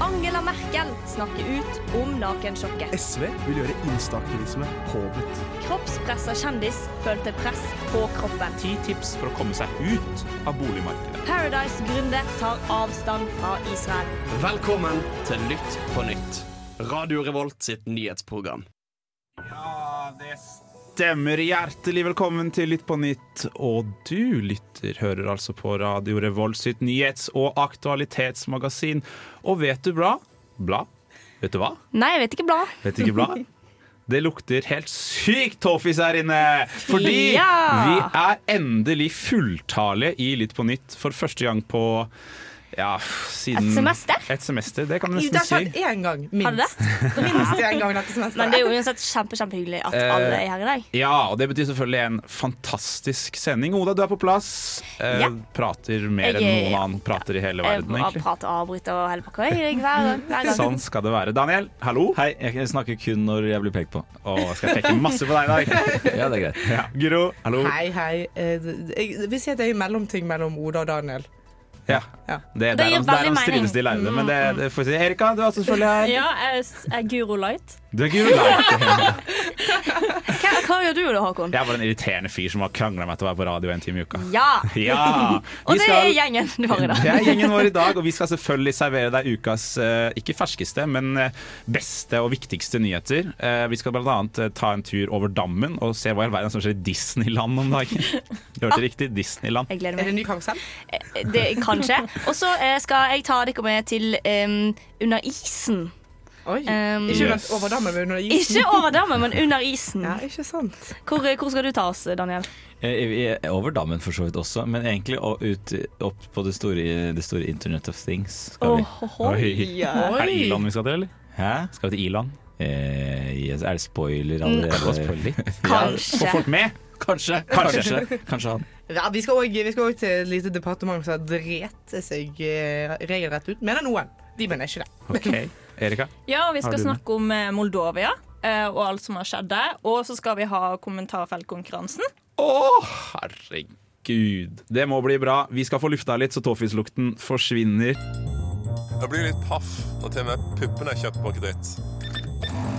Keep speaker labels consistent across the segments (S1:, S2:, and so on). S1: Angela Merkel snakker ut om nakensjokket.
S2: SV vil gjøre instaktivisme påbudt.
S1: Kroppspressa kjendis følte press på kroppen.
S3: Ti tips for å komme seg ut av boligmarkedet.
S1: Paradise-gründer tar avstand fra Israel.
S4: Velkommen til Lytt på nytt. Radio Revolt sitt nyhetsprogram.
S5: Stemmer. Hjertelig velkommen til Lytt på nytt. Og du lytter, hører altså på Radio Revolt sitt nyhets- og aktualitetsmagasin. Og vet du bra? Bla? Vet du hva?
S1: Nei, jeg vet ikke blad.
S5: Vet ikke bla? Det lukter helt sykt toffis her inne! Fordi vi
S1: Ja!
S5: er endelig fulltale i Lytt på nytt for første gang på ja, siden
S1: Et semester?
S5: Et semester, Det kan du
S6: Jo, det
S5: nesten
S6: har skjedd
S5: si.
S6: én gang,
S1: Har du det?
S6: minst. minst én gang dette semesteret.
S1: Men det er jo uansett kjempe, kjempehyggelig at
S5: Eh,
S1: alle er her i dag.
S5: Ja, og det betyr selvfølgelig en fantastisk sending. Oda, du er på plass. Eh,
S1: Ja.
S5: Prater mer
S1: Jeg-
S5: enn noen annen prater i hele
S1: Jeg
S5: verden,
S1: bare
S5: egentlig.
S1: prater og avbryter og holder på hva jeg gjør hver, hver gang.
S5: Sånn skal det være. Daniel, hallo.
S7: Hei, jeg snakker kun når jeg blir pekt på.
S5: Å, skal jeg peke masse på deg i dag.
S7: Ja, det er greit.
S5: Ja. Guro, hallo.
S6: Hei, hei. Eh, Jeg vil si at jeg er i mellomting mellom Oda og Daniel.
S5: Ja.
S6: Ja.
S5: Det,
S1: Det
S5: der
S1: gir
S5: han-
S1: veldig
S5: der han
S1: mening.
S5: strides de lærde. Men det, det får vi si. Erika, du er altså selvfølgelig her.
S8: Ja, jeg er Guro Light.
S5: Du er Guro Light.
S1: Hva, hva gjør du da, Håkon?
S5: Jeg var en irriterende fyr som har krangla meg til å være på radio en time i uka.
S1: Ja!
S5: Ja!
S1: Mm. Og det er gjengen du har i dag.
S5: Det er gjengen vår i dag, og vi skal selvfølgelig servere deg ukas eh, ikke ferskeste, men eh, beste og viktigste nyheter. Eh, Vi skal blant annet eh, ta en tur over dammen og se hva i all verden som skjer i Disneyland om dagen. Du hørte riktig, Disneyland.
S1: Jeg gleder
S6: Er det
S1: meg.
S6: en ny karusell?
S1: Det, kanskje. Og så eh, skal jeg ta dere med til em, Under isen.
S6: Oi.
S1: Em,
S6: Ikke
S5: Yes.
S6: yes. over dammen, men under isen.
S1: Ikke over dammen, men under isen.
S6: Ja, ikke sant.
S1: Hvor, hvor skal du ta oss, Daniel?
S7: Jeg Eh, er over dammen for så vidt også, men egentlig o- ut, opp på det store, det store Internet of Things skal vi.
S5: Oi. Er det Iland vi skal til, eller?
S7: Hæ?
S5: Skal vi til Iland?
S7: Eh, yes, er det spoiler allerede?
S1: Kanskje.
S5: Få folk med!
S7: Kanskje.
S5: Kanskje.
S7: Kanskje. Kanskje han.
S6: Ja, vi skal òg til et lite departement som dreter seg eh, regelrett ut. Mener noen. De mener ikke det.
S5: Ok, Erika.
S8: Ja, og vi
S5: Har
S8: skal
S5: du med?
S8: snakke om eh, Moldovia eh, og alt som har skjedd der. Og så skal vi ha kommentarfeltkonkurransen.
S5: Å, herregud. Det må bli bra. Vi skal få lufta litt, så tåfislukten forsvinner.
S9: Jeg blir litt paff når til og med puppene er kjøpt på kreditt.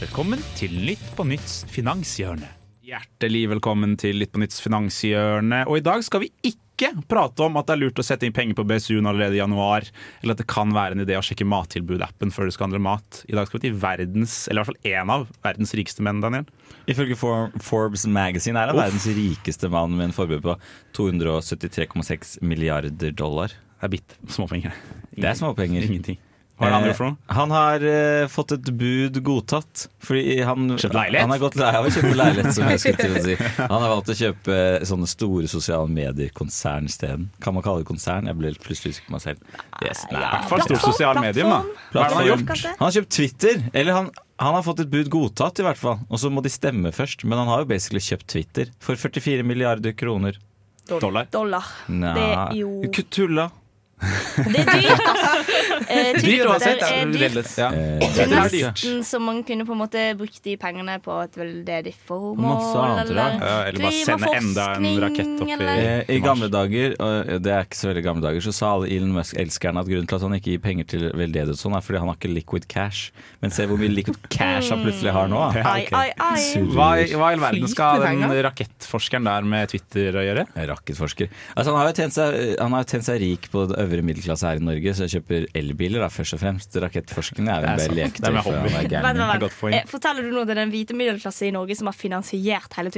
S5: Velkommen til Lytt på nytts finanshjørne. Hjertelig velkommen til Lytt på nytts finanshjørne. Og i dag skal vi ikke prate om at det er lurt å sette inn penger på BSU-en allerede i januar, eller at det kan være en idé å sjekke mattilbud-appen før du skal handle mat. I dag skal vi til verdens, eller i hvert fall én av verdens rikeste menn, Daniel.
S7: Ifølge For- Forbes Magazine er han verdens rikeste mann med en formue på 273,6 milliarder dollar.
S5: Det er bitte småpenger.
S7: Det er småpenger.
S5: Ingenting. Hva er det andre for noe?
S7: Eh, Han har eh, fått et bud godtatt. Fordi han,
S5: Kjøpt leilighet?
S7: Han har gått lei av å kjøpe leilighet, som jeg skulle til å si. Han har valgt å kjøpe eh, sånne store sosiale medier-konsern isteden. Kan man kalle det konsern? Jeg ble helt plutselig usikker på meg selv. Yes. Nei.
S5: I hvert fall et stort sosialt medium, da. Hva er det han har
S7: Plattform.
S5: gjort?
S7: Han har kjøpt Twitter. Eller han, han har fått et bud godtatt, i hvert fall. Og så må de stemme først. Men han har jo basically kjøpt Twitter for 44 milliarder kroner.
S5: Dollar.
S1: Dollar.
S7: Nei.
S1: Det er jo-
S7: Ikke tulla.
S1: Det er dyrt, ass. Eh,
S5: Dyrt uansett.
S1: det er dyrt.
S5: relativt. Ja.
S7: Eh,
S1: Det
S5: Det
S1: er
S5: er dyrt.
S1: nesten så man kunne på en måte brukt de pengene på et veldedig
S7: Masse
S1: formål,
S7: annet,
S1: eller
S5: Ja, eller bare sende enda en rakett opp i
S1: eller-
S7: Eh, I gamle dager, og det er ikke så veldig gamle dager, så sa alle Elon Musk-elskerne at grunnen til at han ikke gir penger til veldedighet og sånn, er fordi han har ikke liquid cash. Men se hvor mye liquid cash han plutselig har nå. da.
S1: Ai, ai, ai.
S5: Hva i hva i all verden skal den
S6: Flytende penger?
S5: rakettforskeren der med Twitter å gjøre?
S7: Rakketforsker. Altså, han har jo tjent seg, han har jo tjent seg rik på det øvre middelklasse her i Norge, så jeg kjøper elbiler da, først og fremst. Rakettforskerne er jo
S5: Det er
S7: en
S5: sant.
S7: del
S5: Det er
S7: leketøy.
S5: med
S7: for
S5: hobby.
S7: han er gæren.
S1: Vent, vent,
S5: Godt poeng.
S1: vent. Eh, Forteller du nå til den hvite middelklasse i Norge som har finansiert hele
S7: Eh,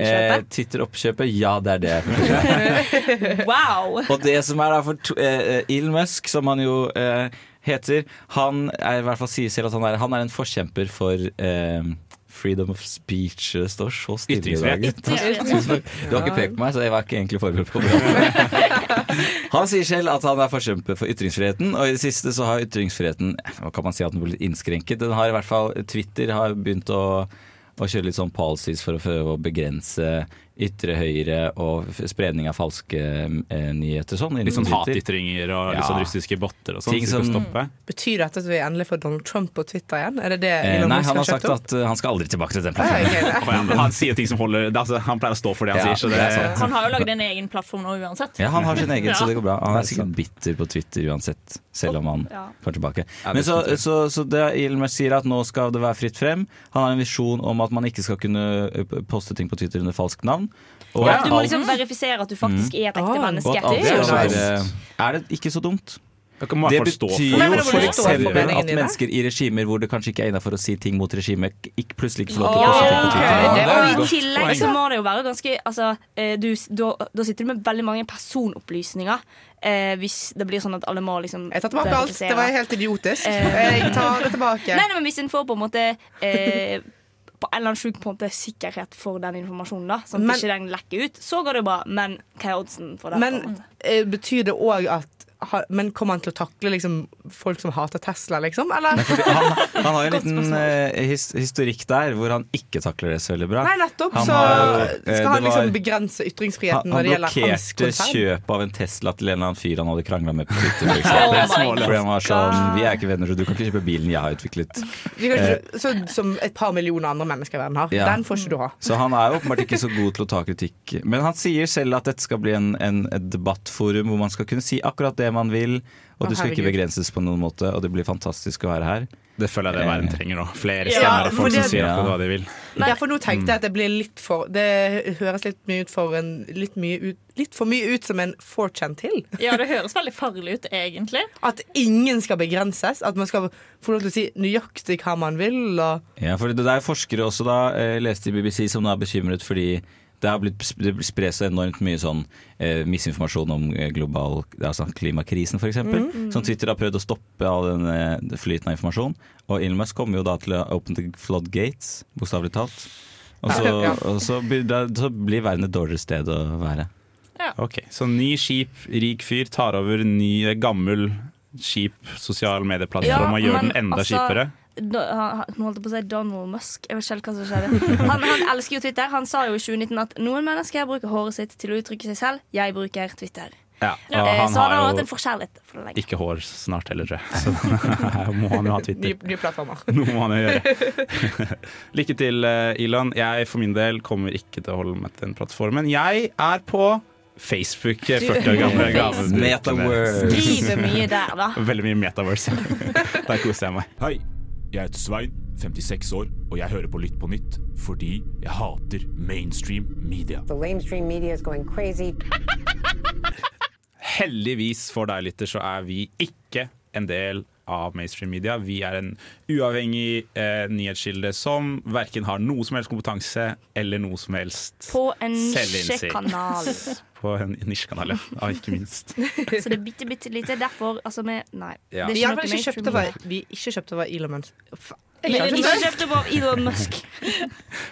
S1: Twitter-kjøpet?
S7: Twitter-oppkjøpet, ja det er det. jeg forstår.
S8: Wow!
S7: Og det som er da for to- eh, eh, Elon Musk, som han jo eh, heter, han er i hvert fall sier selv at han er, han er en forkjemper for eh, freedom of speech. Det står så stille i dag.
S5: Ytringsfrihet.
S7: Du har ikke pekt på meg, så jeg var ikke egentlig forberedt på det. Han sier selv at han er forkjemper for ytringsfriheten, og i det siste så har ytringsfriheten Hva kan man si at den blir litt innskrenket? Den har i hvert fall Twitter har begynt å å kjøre litt sånn policies for å prøve å begrense ytre høyre og f- spredning av falske eh, nyheter. Sånn,
S5: Litt sånn
S7: innen Twitter.
S5: hatytringer og litt
S7: Ja.
S5: sånn russiske botter og sånn.
S7: Ting
S5: som skal
S7: som-
S5: stoppe.
S6: Betyr dette at vi endelig får Donald Trump på Twitter igjen? Er det det
S7: Eh,
S6: Elon
S7: nei,
S6: Musk
S7: han har
S6: kjøpt
S7: sagt
S6: opp?
S7: at eh, han skal aldri tilbake til den
S6: Ah,
S7: plattformen.
S6: ok, nei.
S5: Og han, han sier ting som holder det, er altså, Han pleier å stå for det han
S7: Ja,
S5: sier, så det,
S7: det er sant.
S8: Han har jo lagd en egen plattform nå uansett.
S7: Ja, han har sin egen, så det går bra. Han
S5: Det
S7: er
S5: er sant.
S7: sikkert bitter på Twitter uansett, selv om han
S8: Ja.
S7: kommer tilbake.
S5: Ja,
S7: Men
S5: det
S7: så,
S5: skal til.
S7: så, så det Elon Musk sier at nå skal det være fritt frem. Han har en visjon om at man ikke skal kunne eh, poste ting på Twitter under falskt navn. Og
S1: Ja,
S7: at
S1: du må
S7: alt-
S1: liksom verifisere at du faktisk er et ekte
S6: Ah.
S1: menneske.
S7: og at alt
S6: Det er jo
S7: skal
S6: nice.
S7: være Er det ikke så dumt?
S5: det kan man i
S7: Det
S5: hvert fall stå
S7: betyr
S5: for.
S6: Nei, men
S7: jo
S6: det må
S7: for
S6: du stå for,
S7: eksempel
S6: meningen
S7: at
S6: din, da.
S7: mennesker i regimer hvor det kanskje ikke er innafor å si ting mot regimet, ikke plutselig ikke får lov til å
S1: Ja,
S7: poste ting.
S1: ok,
S7: på Twitter.
S6: det var
S1: Og
S6: et
S1: i
S6: godt
S1: tillegg
S5: poeng.
S1: så må det jo være ganske altså, eh, du, da, da sitter du med veldig mange personopplysninger eh, hvis det blir sånn at alle må liksom
S6: Jeg tar tilbake alt. Det var helt idiotisk.
S1: Eh.
S6: Jeg tar det tilbake.
S1: Nei, nei, men hvis en får på en måte eh, På en eller annen sjuk på en måte sikkerhet for den informasjonen, da sånn at
S6: Men-
S1: ikke den lekker ut, så går det jo bra. Men hva er oddsen for det? på en
S6: Men
S1: måte?
S6: eh, betyr det òg at ha- Men kommer han til å takle liksom, folk som hater Tesla, liksom? Eller?
S7: Han har jo en liten eh, his historikk der hvor han ikke takler det så veldig bra.
S6: Nei, nettopp.
S7: Han
S6: Så
S7: har jo, eh,
S6: skal han
S7: det var-
S6: liksom begrense ytringsfriheten
S7: Han,
S6: når
S7: han
S6: det gjelder hans
S7: blokkerte
S6: konsern?
S7: kjøpet av en Tesla til en eller annen fyr han hadde krangla med på Twitter. for eksempel.
S1: Oh my
S7: Fordi han var sånn Vi er ikke venner, så du kan ikke kjøpe bilen jeg har utviklet.
S6: Vi kan ikke- Så, som et par millioner andre mennesker i verden har.
S7: eh, Ja.
S6: Den får ikke du ha.
S7: Så han er jo åpenbart ikke så god til å ta kritikk. Men han sier selv at dette skal bli en, en, et debattforum hvor man skal kunne si akkurat det man vil,
S6: Å,
S7: og du skal ikke
S6: herregud.
S7: begrenses på noen måte, og det blir fantastisk å være her.
S5: Det føler jeg det verden trenger nå. Flere
S6: Ja,
S5: stemmer og
S6: for
S5: folk som
S6: det-
S5: sier akkurat hva de vil.
S6: ja, for nå tenkte jeg at det blir litt for Det høres litt mye ut for en Litt, mye ut, litt for mye ut som en 4chan til.
S8: Ja, det høres veldig farlig ut, egentlig.
S6: At ingen skal begrenses. At man skal få lov til å si nøyaktig hva man vil. Og
S7: Ja, for det det er forskere også da, eh, leste i BBC, som nå er bekymret fordi det har blitt sp- det spres så enormt mye sånn eh, misinformasjon om eh, global, altså klimakrisen f.eks. eksempel Som Twitter har prøvd å stoppe all den eh, flyten av informasjon. Og Elon Musk kommer jo da til å open the floodgates, bokstavelig talt. Og, så,
S6: Ja.
S7: og så, blir, da, så blir verden et dårligere sted å være.
S5: Ok, Så ny skip, rik fyr, tar over ny, gammel skip, sosial medieplattform og
S1: Ja,
S5: gjør den
S1: men
S5: enda
S1: altså-
S5: kjipere.
S1: Da, han, han- nå holdt jeg på å si Donald Musk. Jeg vet ikke helt hva som skjedde. Han, han elsker jo Twitter. Han sa jo i 2019 at noen mennesker bruker håret sitt til å uttrykke seg selv. Jeg bruker Twitter.
S5: Ja, og
S1: Eh,
S5: han
S1: så han har
S5: har
S1: hatt
S5: jo
S1: en forkjærlighet for det lenge.
S5: ikke hår snart heller, tror jeg. Så her må han jo ha Twitter.
S6: nye, nye plattformer.
S5: Noe må han jo gjøre. Lykke til, eh, Elon. Jeg for min del kommer ikke til å holde meg til den plattformen. Jeg er på Facebook, eh, 40 år gamle gaven.
S7: Metaverse!
S1: Driver mye der, da.
S5: Veldig mye metaverse. Der koser jeg meg.
S3: Hei, jeg heter Svein, 56 år, og jeg hører på Lytt på nytt fordi jeg hater mainstream media.
S5: Heldigvis for deg, lytter, så er vi ikke en del av mainstream media. Vi er en uavhengig eh, nyhetskilde som verken har noe som helst kompetanse eller noe som helst
S1: På en
S5: Selvinnsikt.
S1: nisjekanal.
S5: på en nisjekanal, ja. ja, ikke minst.
S1: Så det er bitte, bitte lite. Derfor, altså vi Nei.
S5: Ja.
S1: Det
S6: Vi
S1: er
S6: har
S1: ikke noe
S6: vel ikke kjøpt
S1: mainstream
S6: over,
S1: media.
S6: vi ikke kjøpt over Elon Musk. Fa-
S1: Vi har
S6: Jeg
S1: Ikke
S6: skjønner ikke.
S1: kjøpt over av Elon Musk.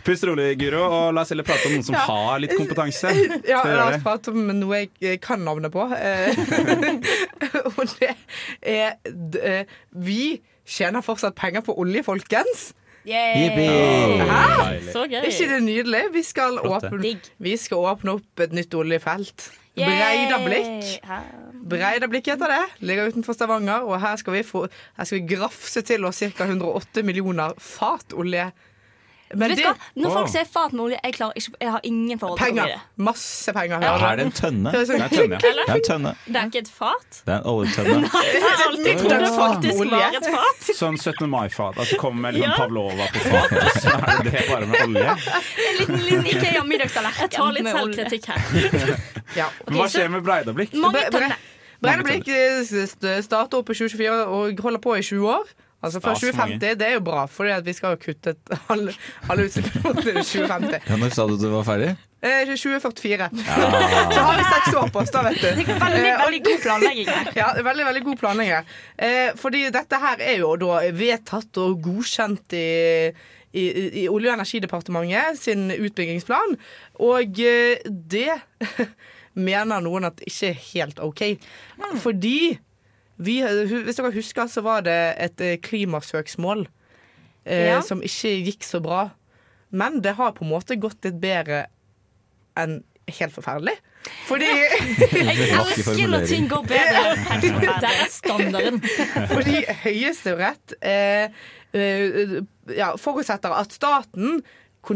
S5: Pust rolig, Guro, og la oss heller prate om noen som har litt kompetanse.
S6: Ja,
S5: Skal vi
S6: la
S5: gjøre
S6: oss
S5: det?
S6: prate om noe jeg eh, kan navnet på. Eh, Og det er d- eh, Vi tjener fortsatt penger på olje, folkens.
S8: Så gøy.
S6: Er ikke det nydelig? Vi skal,
S5: Flott, det.
S6: åpne,
S1: Digg.
S6: vi skal åpne opp et nytt oljefelt.
S1: Yay.
S6: Breidablikk.
S1: Her.
S6: Breidablikk heter det. Ligger utenfor Stavanger. Og her skal vi, få, her skal vi grafse til oss ca. 108 millioner fat olje. Men
S1: Vet du
S6: det
S1: hva? Når folk sier fat med olje, jeg, klarer ikke, jeg har ingen forhold til
S6: Penger.
S1: det.
S6: Masse penger.
S7: Er
S6: Hører
S7: det en tønne?
S6: Det er
S7: Det
S6: sånn-
S5: Nei, tønne, ja.
S7: er en tønne.
S8: Det er ikke et fat.
S7: Det er en oljetønne.
S8: Jeg har alltid trodd det faktisk var et fat.
S5: Sånn 17. mai-fat. At det kommer med litt
S8: Ja.
S5: sånn Pavlova på fat, og så er det det bare med olje.
S1: En liten, liten Ikea-middagstallerken.
S8: Jeg tar litt
S1: med olje.
S8: selvkritikk her.
S6: Ja.
S5: Men hva skjer med Breidablikk?
S1: Mange
S6: Bre- bre-
S1: tønner.
S6: Breidablikk eh, s- st- starter opp i 2024 og holder på i 20 år. Altså før
S5: Stas, mange.
S6: 2050. Det er jo bra, for vi skal jo kutte et- alle, alle utslippene til 2050.
S7: Ja, når sa du du var ferdig?
S6: Eh, 2044. Så har vi seks år på oss, da, vet du.
S1: Veldig,
S6: Eh, og-
S1: veldig god planlegging her.
S6: Ja, det er veldig, veldig god planlegging. her. Eh, fordi dette her er jo da vedtatt og godkjent i, i, i Olje- og energidepartementet sin utbyggingsplan, og eh, det mener noen at ikke er helt OK. Fordi vi, Hvis dere husker, så var det et eh, klimasøksmål eh,
S1: Ja.
S6: som ikke gikk så bra. Men det har på en måte gått litt bedre enn helt forferdelig. Fordi,
S8: Jeg
S7: vakker
S8: elsker når ting går bedre enn helt forferdelig. Det er standarden.
S6: fordi Høyesterett eh, eh, ja, forutsetter at staten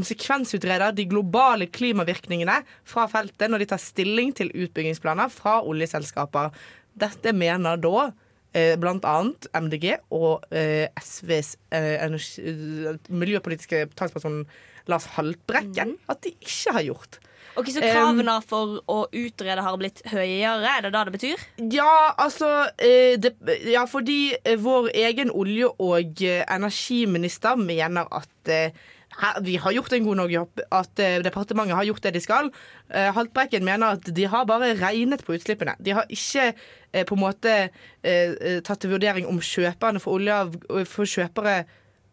S6: konsekvensutreder de globale klimavirkningene fra feltet når de tar stilling til utbyggingsplaner fra oljeselskaper. Dette mener da eh, blant annet MDG og eh, SVs eh, energi- miljøpolitiske talsperson Lars Haltbrekken at de ikke har gjort.
S1: Ok, Så kravene for å utrede har blitt høyere? Er det da det betyr?
S6: Ja, altså eh, det, Ja, fordi eh, vår egen olje- og eh, energiminister mener at eh, her, vi har gjort en god nok jobb, at eh, departementet har gjort det de skal. Eh, Haltbrekken mener at de har bare regnet på utslippene. De har ikke eh, på en måte eh, eh, tatt til vurdering om kjøperne for olje av, for kjøpere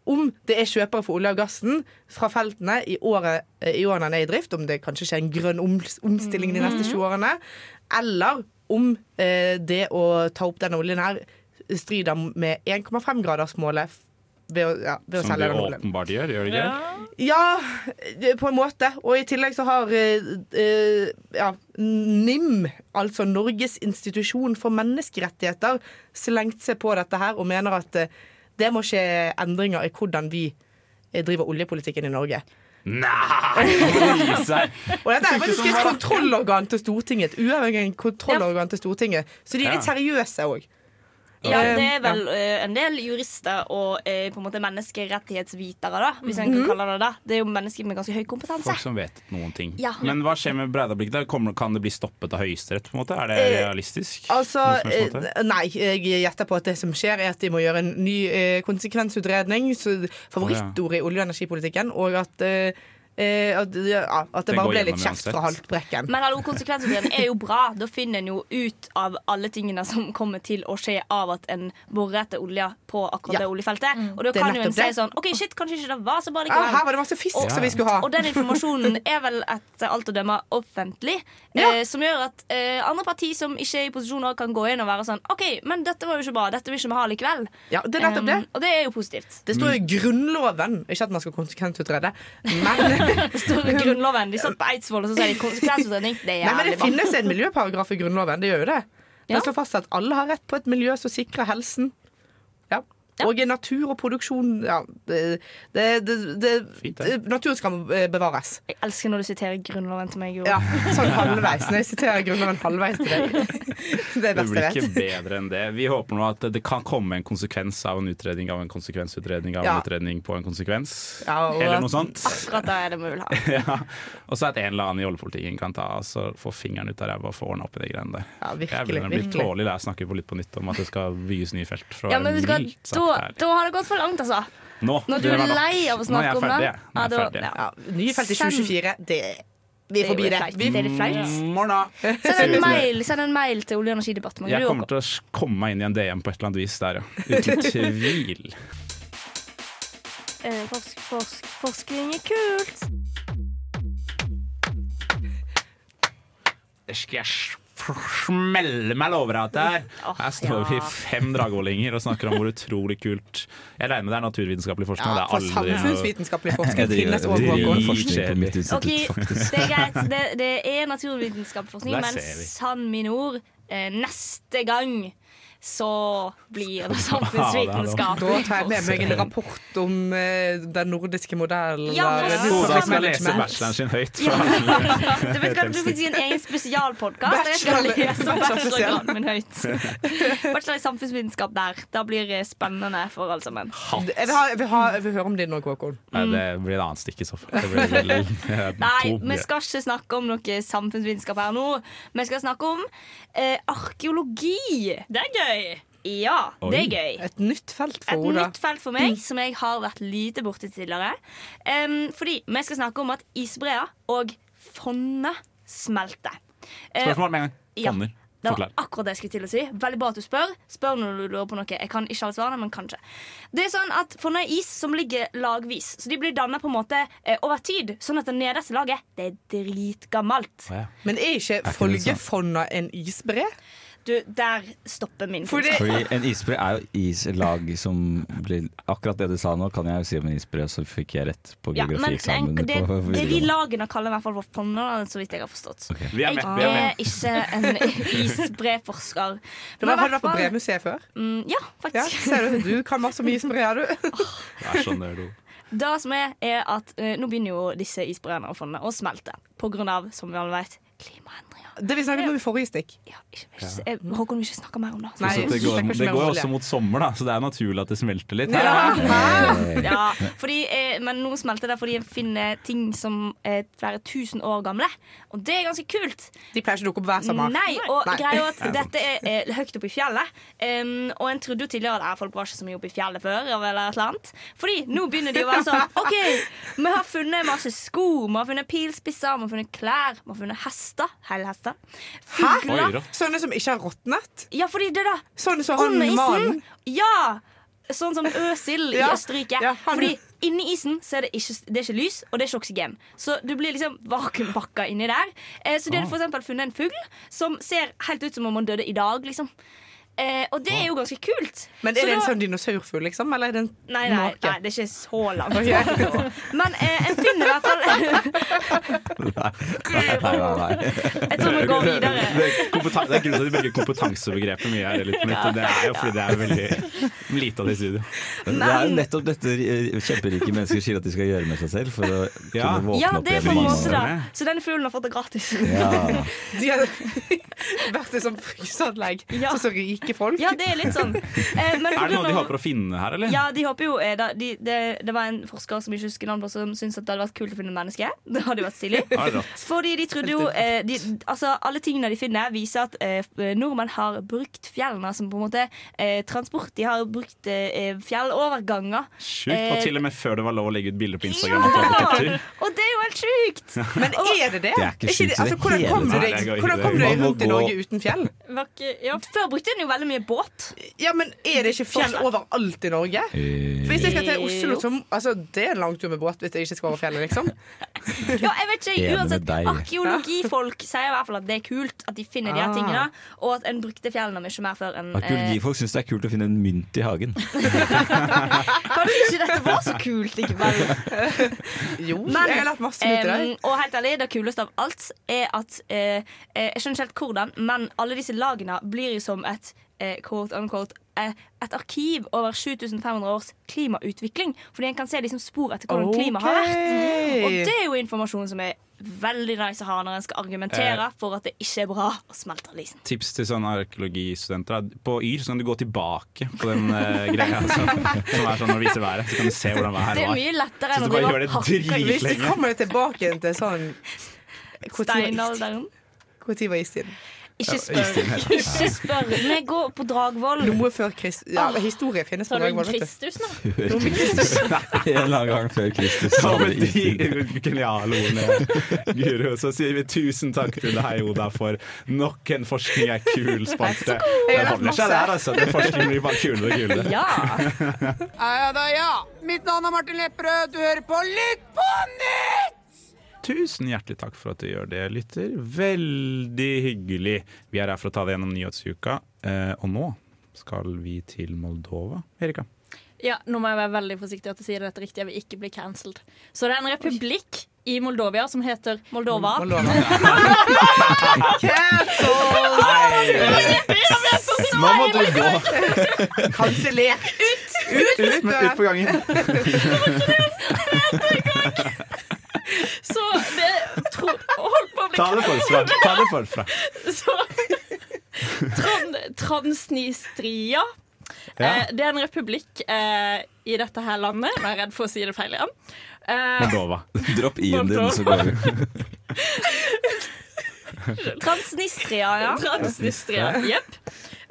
S6: om det er kjøpere for olje og gassen fra feltene i, året, eh, i årene han er i drift, om det kanskje skjer en grønn oms- omstilling de neste 20 årene, eller om eh, det å ta opp denne oljen her strider med 1,5-gradersmålet f- ved, å- ja, ved å
S5: Som
S6: selge
S5: det
S6: den oljen.
S5: åpenbart gjør, gjør det ikke?
S6: Ja, det- på en måte. Og i tillegg så har eh, eh, ja, NIM, altså Norges institusjon for menneskerettigheter, slengt seg på dette her og mener at eh, det må skje endringer i hvordan vi eh, driver oljepolitikken i Norge.
S5: Gi seg.
S6: Og dette er faktisk et kontrollorgan til Stortinget. Et uavhengig kontrollorgan til Stortinget. Så de er litt seriøse òg.
S1: Ja, Det er vel eh, en del jurister og eh, på en måte menneskerettighetsvitere, da, hvis en
S6: Mhm.
S1: kan kalle det det. Det er jo mennesker med ganske høy kompetanse.
S5: Folk som vet noen ting.
S1: Ja.
S5: Men hva skjer med Breidablikk? da? Kommer, kan det bli stoppet av Høyesterett? på en måte? Er det
S6: Eh,
S5: realistisk?
S6: Altså,
S5: Noe som helst måte?
S6: eh, nei, jeg gjetter på at det som skjer er at de må gjøre en ny eh, konsekvensutredning. Så favorittord i olje- og energipolitikken. Og at, eh, eh, at, ja, at det
S5: Den
S6: bare
S5: går
S6: ble litt
S5: gjennom
S6: kjeft fra
S5: uansett.
S6: Haltbrekken.
S1: Men hallo, konsekvensutredning er jo bra. Da finner en jo ut av alle tingene som kommer til å skje av at en borer etter olje på akkurat
S6: Ja. Mm.
S1: det oljefeltet. Og da
S6: Det er
S1: kan jo en
S6: nettopp
S1: si
S6: det.
S1: sånn OK, shit, kanskje ikke det var så bra
S6: Ja,
S1: likevel.
S6: Ah, her var det masse fisk
S1: Og-
S6: som vi skulle ha.
S1: Og den informasjonen er vel etter alt å dømme offentlig.
S6: Ja.
S1: Eh, som gjør at eh, andre parti som ikke er i posisjon, også kan gå inn og være sånn OK, men dette var jo ikke bra. Dette vil ikke vi ha likevel.
S6: Ja, det er nettopp det.
S1: Um, og det er jo positivt.
S6: Det står i Grunnloven. Ikke at man skal konsekvensutrede, men
S1: Det står i Grunnloven. De satt på Eidsvoll og så sier de konsekvensutredning. Det er
S6: Nei, men
S1: jævlig
S6: Det
S1: bra.
S6: finnes en miljøparagraf i Grunnloven. Det gjør jo det. Den
S1: Ja.
S6: slår fast at alle har rett på et miljø som sikrer helsen. Ja.
S1: Ja.
S6: Og natur og produksjon ja, det, det, det, det,
S5: Fint, det.
S6: Naturen skal eh, bevares.
S1: Jeg elsker når du siterer Grunnloven til meg. Jo.
S6: Ja, Sånn halvveis. Når jeg siterer Grunnloven halvveis til deg. Det er
S5: Det
S6: det beste
S5: blir
S6: jeg
S5: ikke
S6: vet.
S5: bedre enn det. Vi håper nå at det kan komme en konsekvens av en utredning av en konsekvensutredning av
S6: Ja.
S5: en utredning på en konsekvens.
S6: Ja, og
S5: Eller
S6: at-
S5: noe sånt.
S1: Akkurat det er det vi vil ha.
S5: Ja. Og så at en eller annen i oljepolitikken kan ta og så få fingeren ut av ræva og få ordna opp i de greiene der.
S6: Ja,
S5: Jeg
S6: virkelig,
S5: begynner å bli
S6: virkelig.
S5: tålelig der jeg snakker på litt på nytt om at det skal bygges nye felt. For å
S1: Ja,
S5: være
S1: men vet du hva,
S5: mildt sagt
S1: da,
S5: ærlig.
S1: da har det gått for langt, altså.
S5: Nå,
S1: Når du
S5: det
S1: er
S5: var nok.
S1: lei av å
S5: Nå er
S1: snakke
S5: jeg
S1: om det.
S5: ferdig. Nå er jeg
S1: da-
S5: ferdig.
S1: ja.
S6: Ja, nye felt i
S1: Send-
S6: 2024, det Vi er
S1: Det er
S6: forbi
S1: jo
S6: det.
S1: flaut.
S6: Vi,
S1: Det er litt
S5: Mm.
S1: flaut.
S5: Morna.
S1: Send en mail, send en mail til Olje- og energidepartementet.
S5: Jeg
S1: du
S5: kommer
S1: også.
S5: til å s- komme meg inn i en DM på et eller annet vis der, ja. Uten tvil.
S1: Eh, forsk, forsk, forskning er kult.
S5: Det skal jeg s- smelle meg lovrat her.
S1: Åh,
S5: Her står vi fem dragålinger og snakker om hvor utrolig kult Jeg regner med det er naturvitenskapelig forskning.
S6: ja, for
S5: det er aldri noe
S6: samfunnsvitenskapelig forskning
S7: Jeg driver,
S6: finnes
S7: jeg
S6: over
S7: driver
S6: Håkon.
S7: med forskning på mitt
S1: Ok,
S7: institutt, faktisk.
S1: det er greit. Det, det er naturvitenskapsforskning,
S5: Der
S1: men
S5: ser vi.
S1: sann mine ord, eh, neste gang så blir det
S5: Ja,
S1: samfunnsvitenskap.
S6: Da tar jeg med meg en rapport om eh, den nordiske modellen.
S1: Ja, sånn
S6: av
S1: for faen.
S5: Oda
S6: resource
S5: skal lese
S6: management.
S5: bacheloren sin høyt.
S1: Du vet hva, du fikk si en egen spesialpodkast der jeg skal
S6: Bachelor-
S1: lese om
S6: bachelor spesial.
S1: bachelorgraden min høyt. Bachelor i samfunnsvitenskap der. Det blir det spennende for alle sammen.
S6: Jeg vil, ha, jeg, vil ha, jeg vil høre om din nå, Håkon.
S5: Nei, det blir et annet stikk i så fall. Det blir vel, eh,
S1: Nei,
S5: to-
S1: vi skal ikke snakke om noe samfunnsvitenskap her nå. Vi skal snakke om eh, arkeologi.
S8: Det er gøy.
S1: Ja, det
S5: Oi.
S1: er gøy.
S6: Et nytt felt
S1: Et
S6: for Oda.
S1: nytt felt for meg som jeg har vært lite borti tidligere. Em, fordi vi skal snakke om at isbreer og fonner smelter. Eh,
S5: Spørsmål med en gang.
S1: Ja.
S5: Fonner.
S1: det var
S5: Forklar.
S1: akkurat det jeg skulle til å si. Veldig bra at du spør. Spør når du lurer på noe. Jeg kan ikke alle svarene, men kanskje. Det er sånn at Fonner er is som ligger lagvis, så de blir danna på en måte eh, over tid. Sånn at det nederste laget, det er dritgammelt.
S6: Men er ikke
S7: ikke det sant?
S6: Folgefonna en isbre?
S1: Du, der stopper min
S6: Fordi-
S1: kunnskap.
S7: Fordi en isbre er jo islag som blir Akkurat det du sa nå, kan jeg jo si om en isbre, så fikk jeg rett på
S1: Ja, men en,
S7: geografieksamen.
S1: det, det
S7: på
S1: de
S7: videregående.
S1: lagene kaller i hvert fall for fonner, så vidt jeg har forstått.
S5: Vi er
S1: Jeg
S5: med. Vi
S1: er
S5: er med.
S1: ikke en isbreforsker. Men
S6: Men
S1: i
S6: har du
S1: hvert
S6: vært på
S1: fall-
S6: brevmuseet før?
S1: Mm, ja,
S6: Ja,
S1: faktisk.
S6: ser du, du kan masse om isbre, er du.
S5: Det er sånn det er, du.
S1: Det som er, er at eh, nå begynner jo disse isbreene og fondene å smelte. På grunn av, som vi alle vet, klimaendringer.
S6: Det vi snakket om i forrige stikk.
S1: Ja, ikke, ikke, eh, Håkon vil ikke snakke mer om det.
S6: Nei,
S5: Så det,
S6: jeg
S5: går,
S6: snakker ikke
S5: det
S6: mer om
S5: går jo
S6: olje.
S5: også mot sommer, da, så det er naturlig at det smelter litt.
S6: Ja.
S1: Ja, fordi, eh, men nå smelter det fordi en finner ting som er flere tusen år gamle. Og det er ganske kult.
S6: De pleier ikke å dukke opp hver sommer.
S1: Nei, og
S6: Nei.
S1: greia er at dette er eh, høyt oppe i fjellet. Em, og en trodde jo tidligere at eh, folk var ikke så mye oppe i fjellet før. Eller et eller annet. Fordi nå begynner de å være sånn OK, vi har funnet masse sko, vi har funnet pilspisser, vi har funnet klær, vi har funnet hester. Hele hester.
S5: Oi,
S1: Fugler.
S5: rått.
S6: Sånne som ikke har råtnet.
S1: Ja, fordi det da
S6: Sånne Sånn som han
S1: Under isen.
S6: mannen.
S1: Ja! Sånn som Øsil i
S6: Ja,
S1: Østerrike.
S6: ja, han-
S1: Fordi inni isen så er det, ikke, det er ikke lys, og det er ikke oksygen. Så du blir liksom vakuumpakka inni der. Eh, så de
S6: Ah.
S1: hadde for eksempel funnet en fugl som ser helt ut som om han døde i dag, liksom. Eh, og det er jo ganske kult.
S6: Ah. Men er
S1: Så
S6: det en
S1: da-
S6: sånn dinosaurfugl, liksom? Eller er det en
S1: Nei, nei,
S6: make?
S1: nei, det er ikke så langt. Men eh, en finner i hvert fall
S7: Nei, nei, nei.
S1: Jeg tror vi går videre.
S5: Det er kompeten- det er grunnen til at de bruker kompetansebegrepet mye her. i Litt på nytt, og det er jo fordi det er veldig lite av det i studio.
S7: Det er jo nettopp dette eh, kjemperike mennesker sier at de skal gjøre med seg selv for å
S5: Ja.
S7: kunne våkne
S1: Ja,
S7: opp
S1: det er
S7: igjen
S1: på
S7: i
S1: en
S7: mange
S1: måte
S7: år.
S1: det. Så denne fuglen har fått det gratis.
S7: Ja.
S6: De har vært i sånn fryseanlegg.
S1: Ja.
S6: Sånn som rike folk.
S1: Ja, det er litt sånn. Eh, men
S5: Er det noe de
S1: pga.
S5: håper å finne her, eller?
S1: Ja, de håper jo eh, da, de, det, det var en forsker som ikke husker navnet på Som syntes at det hadde vært kult å finne menneske Det hadde jo vært stilig
S5: Ja, rått.
S1: Fordi de trodde jo eh, de, Altså alle tingene de finner Viser at eh, nordmenn har brukt fjellene Som på en måte eh, transport De har brukt eh, fjelloverganger
S5: Sjukt. Og til og med før det var lov å legge ut bilder på Instagram. At du hadde
S1: ja!
S5: kaptur.
S1: Og det er jo helt sykt
S6: Men er det det?
S7: Det er ikke sjukt i det
S6: altså, hvordan
S7: hele
S6: kom du
S5: tatt.
S6: deg,
S5: Nei, det går ikke,
S6: hvordan
S5: det
S6: kom du
S5: går
S6: deg
S7: ikke.
S6: rundt i
S7: Man må gå-
S6: Norge uten fjell?
S8: Var ikke- Ja,
S1: Før brukte den jo veldig mye båt
S6: Ja, men Er det ikke fjell overalt i Norge? Hvis jeg skal til Oslo, så altså, det er en lang tur med båt hvis jeg ikke skal over fjellet, liksom.
S1: Ja, jeg vet ikke,
S7: Enig med
S1: uansett
S7: deg.
S1: Arkeologifolk sier i hvert fall at det er kult At de finner de her
S6: Ah.
S1: tingene Og at en brukte fjellene mye mer før enn eh,
S7: Arkeologifolk syns det er kult å finne en mynt i hagen.
S1: eh, Kanskje ikke dette var så kult likevel.
S6: Jo,
S1: Men,
S6: jeg har lært masse nytt i dag.
S1: Em, og helt ærlig, det kuleste av alt er at eh, eh, Jeg skjønner ikke helt hvordan, men alle disse lagene blir jo som et eh, quote unquote eh, et arkiv over 7500 års klimautvikling. Fordi en kan se liksom spor etter hvordan klimaet har vært.
S6: Ok.
S1: Og det er jo informasjon som er veldig nice å ha når en skal
S7: Eh.
S1: argumentere for at det ikke er bra å smelte av isen.
S5: Tips til sånne arkeologistudenter. er, På Yr så kan du gå tilbake på den eh, greia som, som er sånn å vise været. Så kan du se hvordan været
S1: Det er
S5: var.
S1: mye lettere
S5: Så
S1: enn
S5: du
S1: å
S5: bare
S1: drive
S5: gjør det
S1: og hakke
S6: Hvis du
S5: dritlenge.
S6: kommer tilbake igjen til sånn Hvor tid var istiden?
S1: steinalderen.
S6: Hvor tid var istiden?
S1: Ikke spør. Ikke spør. Vi går på Dragvoll.
S6: Noe før Krist... Ja,
S1: Ah,
S6: historie finnes på
S8: Tar du
S6: Dragvoll, vet du.
S8: Kristus nå?
S7: En lang gang før Kristus.
S5: Så med de geniale ordene, Guro, så sier vi tusen takk til deg, Oda, for nok en Forskning er kul-spalte. Det
S6: Jeg har lært
S5: holder seg
S6: masse.
S5: der, altså. Det forskning blir bare kulere og kulere.
S1: Ja.
S5: Tusen hjertelig takk for at du gjør det, lytter. Veldig hyggelig. Vi er her for å ta det gjennom nyhetsuka, eh, og nå skal vi til Moldova. Erika.
S8: Ja, nå må jeg være veldig forsiktig at jeg sier dette riktig. Jeg vil ikke bli cancelled. Så det er en republikk i Moldovia som heter Moldova.
S5: Nå må du gå
S6: Kansellert! Ut! Ut, ut,
S5: ut på gangen.
S8: Så det tro, Hold på å bli
S5: Ta det forfra. Ta det forfra.
S8: Så tran, Transnistria.
S5: Ja.
S8: Eh, det er en republikk eh, i dette her landet. Nå er jeg redd for å si det feil igjen. Eh,
S5: Moldova.
S7: Dropp i-en din, så går vi.
S1: Transnistria, ja.
S8: Transnistria. Jepp.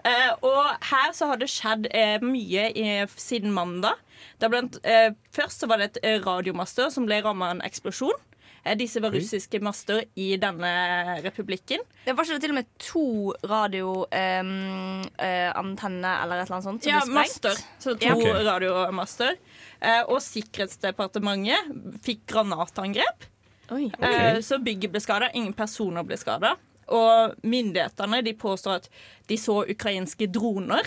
S8: Eh, og her så har det skjedd eh, mye i, siden mandag. Da blant, eh, først så var det et eh, radiomaster som ble ramma av en eksplosjon. Eh, disse var russiske master i denne republikken.
S1: Det var ikke det til og med to radioantenner eller et eller annet sånt som
S8: ja,
S1: ble sprengt?
S8: master. Så to
S5: Ja. Ok.
S8: radiomaster. Eh, og Sikkerhetsdepartementet fikk granatangrep.
S1: Oi.
S8: Eh, så bygget ble skada. Ingen personer ble skada. Og myndighetene de påstår at de så ukrainske droner,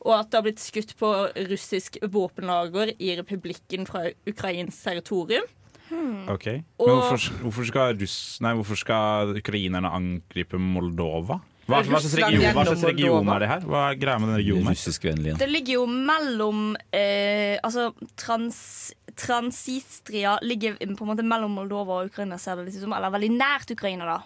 S8: og at det har blitt skutt på russisk våpenlager i republikken fra ukrainsk territorium.
S5: Ok.
S8: Og-
S5: Men hvorfor, hvorfor, skal Russ, nei, hvorfor skal ukrainerne angripe Moldova? Hva, hva slags
S6: Russland
S5: region, hva slags
S6: gjennom
S5: region
S6: Moldova.
S5: er det her? Hva er greia med den regionen? her?
S7: Russiskvennlig igjen.
S1: Det ligger jo mellom eh, Altså, trans, Transistria ligger på en måte mellom Moldova og Ukraina, ser det litt ut som. Eller veldig nært Ukraina, da.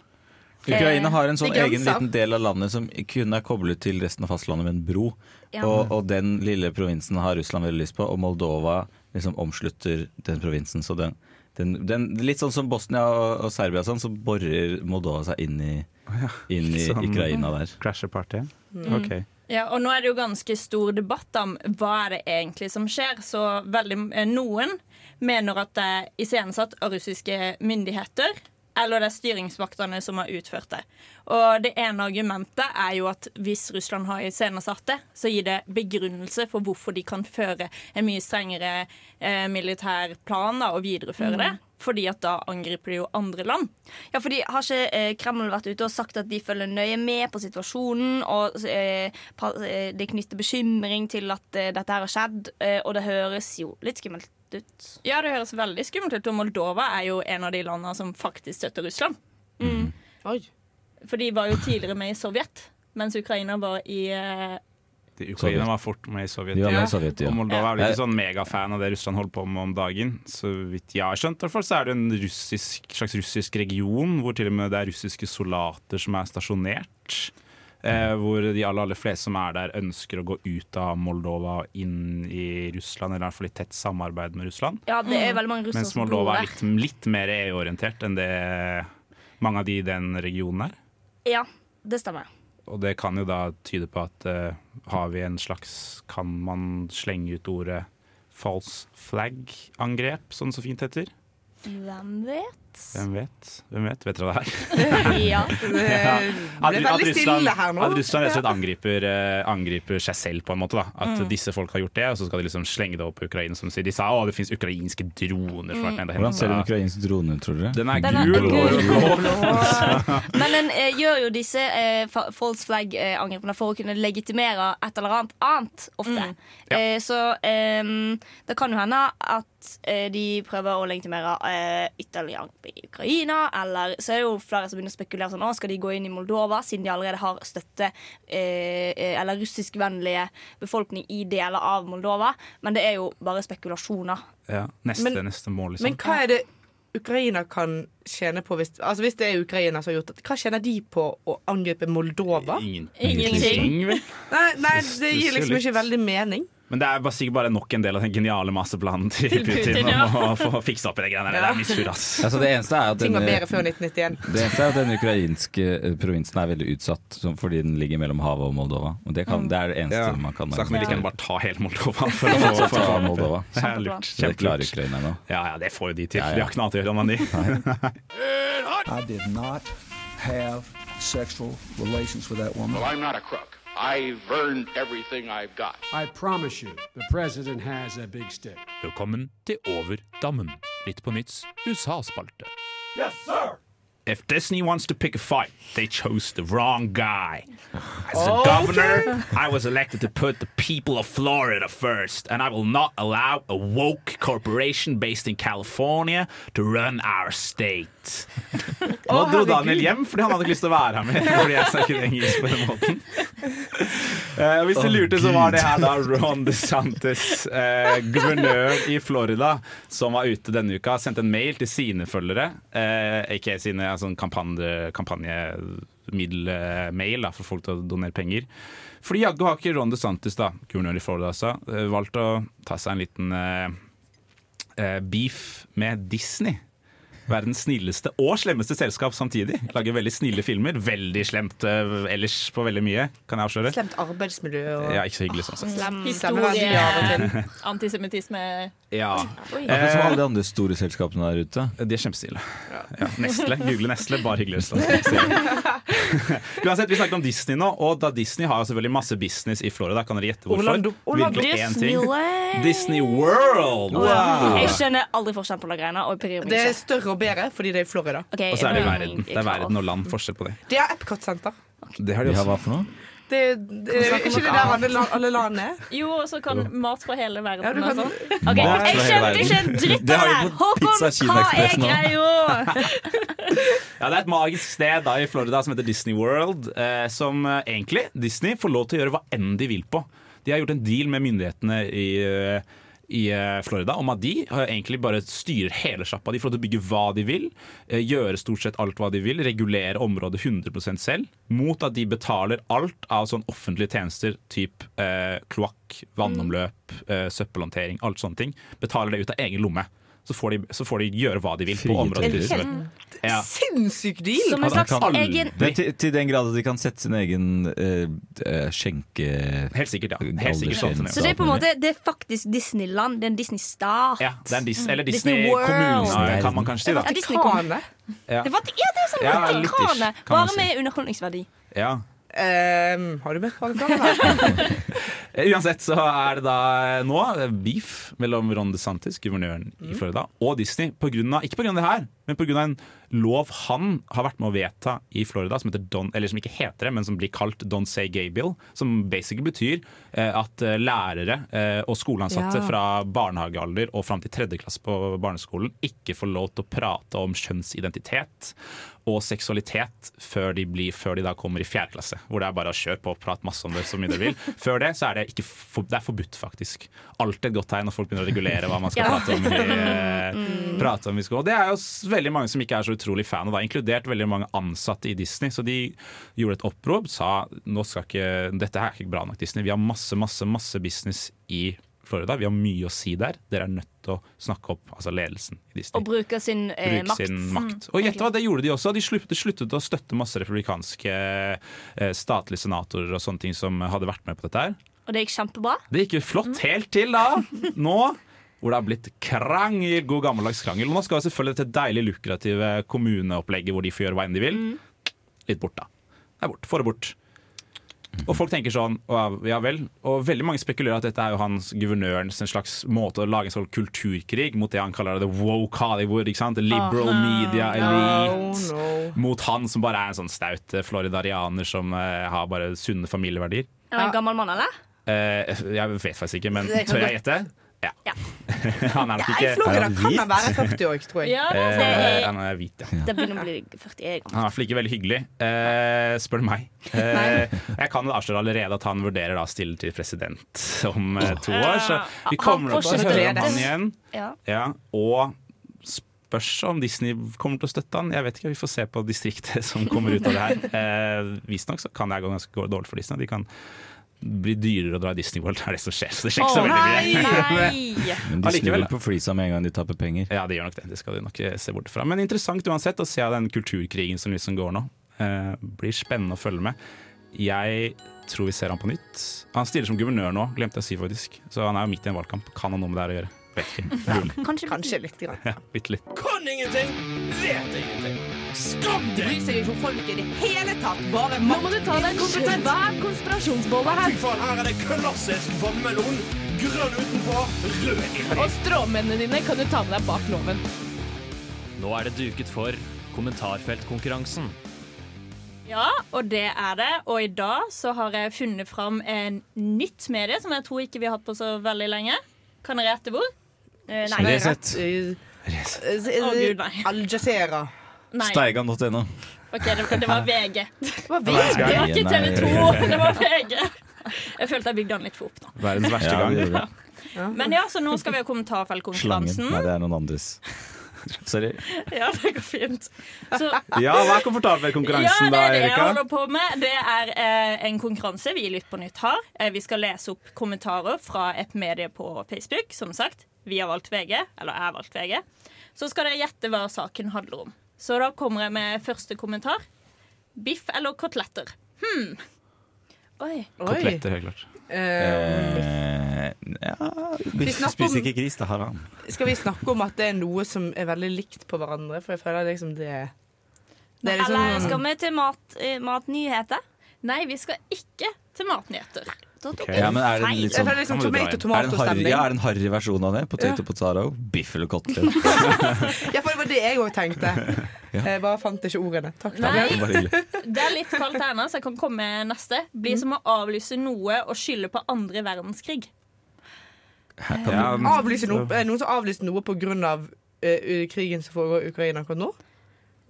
S7: Ukraina har en sånn
S6: det er
S7: egen
S6: grensa.
S7: liten del av landet som kunne er koblet til resten av fastlandet med en bro.
S1: Ja.
S7: Og, og den lille provinsen har Russland veldig lyst på, og Moldova liksom omslutter den provinsen. Så den, den, den, litt sånn som Bosnia og, og Serbia, og sånn, så borer Moldova seg inn i, inn i
S5: Sånn.
S7: Ukraina der.
S5: Crasher party? Ok.
S8: Ja, og nå er det jo ganske stor debatt om hva er det egentlig som skjer. Så veldig, eh, noen mener at det er iscenesatt av russiske myndigheter. Eller det er styringsmaktene som har utført det. Og det ene argumentet er jo at hvis Russland har iscenesatt det, så gir det begrunnelse for hvorfor de kan føre en mye strengere eh, militær plan da, og videreføre det. Fordi at da angriper de jo andre land.
S1: Ja, fordi Har ikke eh, Kreml vært ute og sagt at de følger nøye med på situasjonen, og eh, pa- eh, det knytter bekymring til at eh, dette her har skjedd, eh, og det høres jo litt skummelt ut.
S8: Ja, det høres veldig skummelt ut. Og Moldova er jo en av de landene som faktisk støtter Russland.
S1: Mm.
S6: Oi.
S8: For de var jo tidligere med i Sovjet, mens Ukraina var i eh,
S5: De- Ukraina var fort med i Sovjet.
S7: De var med
S5: Ja.
S7: i Sovjet, ja.
S5: Og Moldova er vel ikke sånn megafan av det Russland holder på med om dagen. Så vidt jeg har skjønt, i hvert fall, så er det en russisk, slags russisk region hvor til og med det er russiske soldater som er stasjonert. Eh, hvor de aller, aller fleste som er der, ønsker å gå ut av Moldova og inn i Russland, eller i hvert fall i tett samarbeid med Russland.
S1: Ja, det
S8: Mm.
S1: er veldig mange russere
S5: Mens
S1: som bor
S5: Moldova er
S1: der.
S5: litt, litt mer EU-orientert enn det mange av de i den regionen er.
S1: Ja, det stemmer.
S5: Og det kan jo da tyde på at eh, har vi en slags Kan man slenge ut ordet false flag-angrep, som det så fint heter?
S1: Hvem vet?
S5: Hvem vet? Hvem vet? Vet dere det her?
S1: Ja.
S5: At,
S6: Det ble
S5: at
S6: veldig
S5: Russland,
S6: stille her nå.
S5: at Russland rett og slett angriper, eh, angriper seg selv, på en måte. da At
S6: Mm.
S5: disse folk har gjort det, og så skal de liksom slenge det opp på Ukraina. Som de sier. De sa å, det fins ukrainske
S6: Mm.
S5: droner som har vært nede og
S7: Hvordan ser den
S5: hentet».
S7: ukrainske dronen ut, tror dere?
S5: Den er
S1: Den er
S5: gul og
S1: gul.
S5: blå.
S1: Men den eh, gjør jo disse eh, fa- false flag-angrepene for å kunne legitimere et eller annet annet ofte. Eh, så ehm, det kan jo hende at eh, de prøver å legitimere eh, ytterligere angrep i Ukraina. Eller så er det jo flere som begynner å spekulere sånn Å, skal de gå inn i Moldova, siden de allerede har støtte eh, eh, eller russiskvennlige befolkning i deler av Moldova? Men det er jo bare spekulasjoner.
S5: Ja, neste,
S6: Men-
S5: neste mål, liksom.
S6: Men hva er det Ukraina kan tjene på hvis, altså hvis det er Ukraina som har gjort det? Hva tjener de på å angripe Moldova?
S5: Ingen-
S8: Ingenting.
S5: vel?
S6: Nei, nei
S5: Synes
S6: det
S5: det
S6: gir
S5: ser
S6: liksom
S5: litt-
S6: ikke veldig mening.
S5: Men det er bare sikkert bare nok en del av den geniale masseplanen til Putin om å få fiksa opp i de greiene der. Det er misfur, ass.
S7: Altså, det eneste er at
S6: Ting var
S7: denne-
S6: bedre før 1991.
S7: Det eneste er at den ukrainske eh, provinsen er veldig utsatt som- fordi den ligger mellom havet og Moldova. Og det, kan, det er det eneste man kan
S5: Så da kan vi like gjerne bare ta hele Moldova. For å få, for å
S7: Ta
S5: få
S7: Moldova.
S5: det er lurt.
S7: Det klarer
S5: Kjempelurt.
S7: Ukraina nå.
S5: Ja, ja, det får jo de til.
S7: Ja, ja.
S5: De har ikke noe annet å gjøre enn de.
S2: I did not have sexual relations with that woman.
S10: I'm not a crook. I've earned everything I've got.
S11: I promise you, the president has a big stick.
S3: Velkommen til Over dammen. Litt på nytts USA-spalte.
S5: If Disney wants to pick a fight, they chose the wrong guy. As a governor, I was elected to put the people of Florida first, and I will not allow a woke corporation based in California to run our state. Nå dro Daniel hjem fordi han hadde ikke lyst til å være her med. Fordi jeg snakket engelsk på den måten Eh, Hvis du lurte, så var det her da Ron DeSantis, eh, guvernør i Florida, som var ute denne uka, sendte en mail til sine følgere, eh, ikke sine altså, en kampanje, kampanjemiddelmail da, for folk til å donere penger. Fordi jaggu har ikke Ron DeSantis, da, guvernør i Florida, altså, eh, valgt å ta seg en liten eh, eh, beef med Disney. Verdens snilleste og slemmeste selskap samtidig. Lager veldig snille filmer. Veldig slemt eh, ellers på veldig mye, kan jeg avsløre.
S6: Slemt arbeidsmiljø og
S5: Ja, ikke så hyggelig sånn sett.
S6: Slem-
S8: Historie,
S6: verdier av og til.
S8: antisemittisme
S5: Ja, Eh,
S7: Akkurat som alle de andre store selskapene der ute.
S5: sånn- de er kjempestille. Ja. Nestle. Google Nestle, bare hyggelig. Uansett, vi snakket om Disney nå, og da Disney har jo selvfølgelig masse business i Florida, kan dere gjette hvorfor?
S6: Orlando- Orlando
S5: Virkelig én ting.
S1: Disneyland.
S5: Disney World!
S1: Jeg skjønner aldri forskjellen på de greiene. Og jeg bryr meg
S6: Det er
S1: ikke.
S6: større går bedre fordi det er i Florida.
S5: Og så er det verden. Det er verden og land. Forskjell på det.
S6: De har Epcot-senter.
S5: Det har de også. Hva for noe?
S6: Det, det, Eh, er ikke det der alle, la- alle land er?
S8: Jo, og så kan mat fra hele verden
S6: Ja, du
S8: og
S6: kan-
S8: sånn. Ok, Jeg skjønte ikke en dritt av det her! Håkon, hva er greia?
S5: Ja, det er et magisk sted da i Florida som heter Disney World, eh, som eh, egentlig Disney får lov til å gjøre hva enn de vil på. De har gjort en deal med myndighetene i, eh, i eh, Florida om at de eh, egentlig bare styrer hele sjappa. De får lov til å bygge hva de vil, eh, gjøre stort sett alt hva de vil, regulere området 100 selv, mot at de betaler alt av sånn offentlige tjenester, typ eh, kloakk, vannomløp, eh, søppelhåndtering, alt sånne ting, betaler det ut av egen lomme. Så får, de, så får de gjøre hva de vil. på området. de vil. Ja.
S6: Sinnssyk deal!
S7: Ja, de kan aldri- Det er til, til den grad at de kan sette sin egen eh, eh, skjenke...
S5: Helt sikkert, ja. Helt sikkert sånn som
S1: Så det er på en måte Det er faktisk Disneyland. Det er en Disney-stat.
S5: Ja, det er en Dis
S1: Mm.
S5: eller
S1: Disney
S5: Disney-kommune,
S1: World.
S5: kan man kanskje si. da
S1: Ja, Disney kommune.
S5: Ja.
S1: Det var, ja, det er sånn
S5: Ja,
S1: Vatikanet,
S5: litt-ish, kan man
S1: bare
S5: si.
S1: med underholdningsverdi.
S5: Ja.
S6: Ehm, har du mer kvalifisert?
S5: Eh, Uansett så er det da eh, nå beef mellom Ron DeSantis, guvernøren
S1: Mm.
S5: i Florida, og Disney. På grunn av, ikke pga. det her, men pga. en lov han har vært med å vedta i Florida, som, heter Don, eller som ikke heter det, men som blir kalt Don't Say Gay Bill. Som basically betyr eh, at eh, lærere eh, og skoleansatte
S12: Ja.
S5: fra barnehagealder og fram til tredje klasse på barneskolen ikke får lov til å prate om kjønnsidentitet og seksualitet før de, blir, før de da kommer i fjerde klasse. Hvor det er bare å kjøre på og prate masse om det så mye dere vil. Før det så er det, ikke for, det er forbudt, faktisk. Alltid et godt tegn når folk begynner å regulere hva man skal
S12: Ja.
S5: prate om. I, eh,
S12: Mm.
S5: prate om i skolen. Og det er jo s- veldig mange som ikke er så utrolig fan av det, inkludert veldig mange ansatte i Disney. Så de gjorde et opprop, sa nå skal ikke, dette her er ikke bra nok, Disney. Vi har masse, masse, masse business i Florida. Vi har mye å si der. Dere er nødt til å snakke opp altså ledelsen i Disney.
S1: Og bruker sin eh,
S5: Bruke
S1: makt.
S5: sin makt. Og gjett hva, det gjorde de også. De sluttet, sluttet å støtte masse republikanske eh, statlige senatorer og sånne ting som hadde vært med på dette her.
S1: Og det gikk kjempebra.
S5: Det gikk jo flott helt til da, nå hvor det har blitt krangel, god gammeldags krangel. Og nå skal selvfølgelig dette deilig lukrative kommuneopplegget hvor de får gjøre hva enn de vil, litt bort, da. Det er bort. Får det bort. Og folk tenker sånn, «Å, ja vel. Og veldig mange spekulerer at dette er jo hans guvernørens en slags måte å lage en sånn kulturkrig mot det han kaller det woke Hollywood. ikke sant? Liberal media elite.
S6: Oh,
S5: Mot han som bare er en sånn staut eh, floridarianer som eh, har bare sunne familieverdier.
S1: Er det en gammel mann, eller?
S5: Eh, jeg vet faktisk ikke, men
S1: Det kan
S5: tør jeg
S1: godt-
S5: gjette? Ja. han er nok ikke
S6: I Florida kan han være 40 år, tror jeg.
S1: Ja, det
S5: Eh,
S1: er-
S5: han er hvit, ja.
S1: Det begynner å bli 41 gammel.
S5: Han er i hvert fall ikke veldig hyggelig, eh, spør du meg. Eh, jeg kan vel avsløre allerede at han vurderer da å stille til president om eh, to år, så vi
S12: Han
S5: kommer nok til å
S12: fortsetter
S5: høre
S12: det.
S5: om han igjen.
S12: Ja.
S5: Ja, og spørs om Disney kommer til å støtte han. Jeg vet ikke, vi får se på distriktet som kommer ut av det her. Eh, Visstnok så kan det her gå ganske dårlig for Disney. De kan bli dyrere å dra i Disney World, er det som skjer. Så det skjer ikke så
S12: Å,
S5: veldig mye.
S12: nei!
S7: Men de snur
S5: Allikevel,
S7: vel på flisa med en gang de taper penger.
S5: Ja, de gjør nok det. Det skal de nok eh, se bort fra. Men interessant uansett å se av den kulturkrigen som liksom går nå. Eh, blir spennende å følge med. Jeg tror vi ser han på nytt. Han stiller som guvernør nå, glemte jeg å si faktisk. Så han er jo midt i en valgkamp. Kan han noe med det her å gjøre? Vet ikke. Mulig.
S6: Kanskje, litt. Grann.
S5: Ja, bitte litt.
S6: Kan ingenting, vet ingenting. Skam
S5: deg!
S6: Bryr seg ikke om folk i det hele tatt. Bare
S13: Nå må du ta deg en kompetent Hver konspirasjonsbolle her.
S12: her er det klassisk vannmelon. Grønn utenpå, rød
S13: Og stråmennene dine kan du ta med deg bak loven.
S14: Nå er det duket for kommentarfeltkonkurransen.
S8: Ja, og det er det. Og i dag så har jeg funnet fram en nytt medie som jeg tror ikke vi har hatt på så veldig lenge. Kan dere gjette hvor? Eh, nei.
S7: Resett.
S8: Å, Gud, nei.
S6: Eh, Al-Jazeera.
S8: Nei.
S7: Steigan.no.
S8: Ok, det, det var VG. Det var
S7: VG?
S8: Det var ikke
S7: Nei.
S8: TV 2, det var VG. Jeg følte jeg bygde den litt for opp nå.
S7: Verdens
S5: verste
S7: ja,
S5: gang.
S7: det gjorde det.
S8: Men ja, så nå skal vi ha
S7: Slangen.
S8: kommentarfeltkonkurransen.
S7: Nei, det er noen andres. Sorry.
S8: Ja, det går fint. Så,
S5: Ja, vær komfortabel med konkurransen
S8: ja, det
S5: da,
S8: er det jeg
S5: Erika.
S8: holder på med. Det er eh, en konkurranse vi i Lytt på nytt har. Eh, vi skal lese opp kommentarer fra et medie på Facebook, som sagt. Vi har valgt VG, eller jeg har valgt VG. Så skal dere gjette hva saken handler om. Så da kommer jeg med første kommentar. Biff eller koteletter? Hmm. Oi.
S7: Koteletter, helt klart. Eh, ja
S6: Vi
S7: Biff
S6: snakker om-
S7: spiser ikke gris, det har han.
S6: Skal vi snakke om at det er noe som er veldig likt på hverandre? For jeg føler liksom det Det er liksom
S1: Eller skal vi til mat, eh, matnyheter?
S8: Nei, vi skal ikke til matnyheter.
S1: tomater.
S7: Ok. Ja, men er det litt sånn
S6: Det er liksom
S7: Da må du dra
S6: tomat- og
S7: hjem. Er det en harry-
S6: tomatostemning.
S7: Ja, er det en harry versjon av det? Potato potato, biff eller kotelett?
S6: Ja, for det var det jeg òg tenkte. Jeg bare fant ikke ordene. Takk.
S7: Nei. Det var hyggelig.
S8: Det er litt kaldt her nå, så jeg kan komme med neste. Blir som å avlyse noe og skylde på andre verdenskrig.
S6: Ja, men- Avlyser noe, er det noen som avlyser noe pga. Uh, krigen som foregår i Ukraina akkurat nå?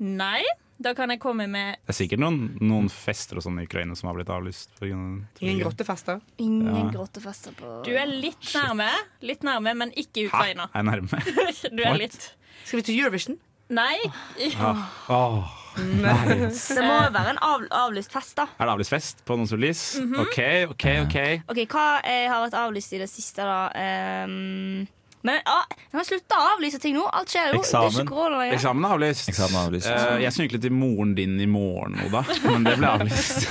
S8: Nei, da kan jeg komme med
S5: Det er sikkert noen, noen fester og sånn i Ukraina som har blitt avlyst. på grunn av-
S6: Ingen grottefester?
S5: Ja.
S1: Ingen grottefester på
S8: Du er litt nærme, litt nærme, men ikke Ukraina.
S5: Er jeg nærme?
S8: Du er
S5: What?
S8: litt
S6: Skal vi til Eurovision?
S8: Nei.
S5: Ja. Åh, nei.
S1: Det må
S8: Eh.
S1: jo være en av, avlyst fest, da.
S5: Er det avlyst fest på noen solis?
S1: Mhm.
S5: OK, OK, OK.
S1: Ok, Hva eh, har vært avlyst i det siste, da? Ehm, men ja, jeg må slutte å avlyse ting nå. Alt skjer jo. Det er ikke korona lenger.
S5: Eksamen er avlyst.
S7: Eksamen er avlyst.
S5: Eh, jeg snunklet til moren din i morgen, Oda, men det ble avlyst.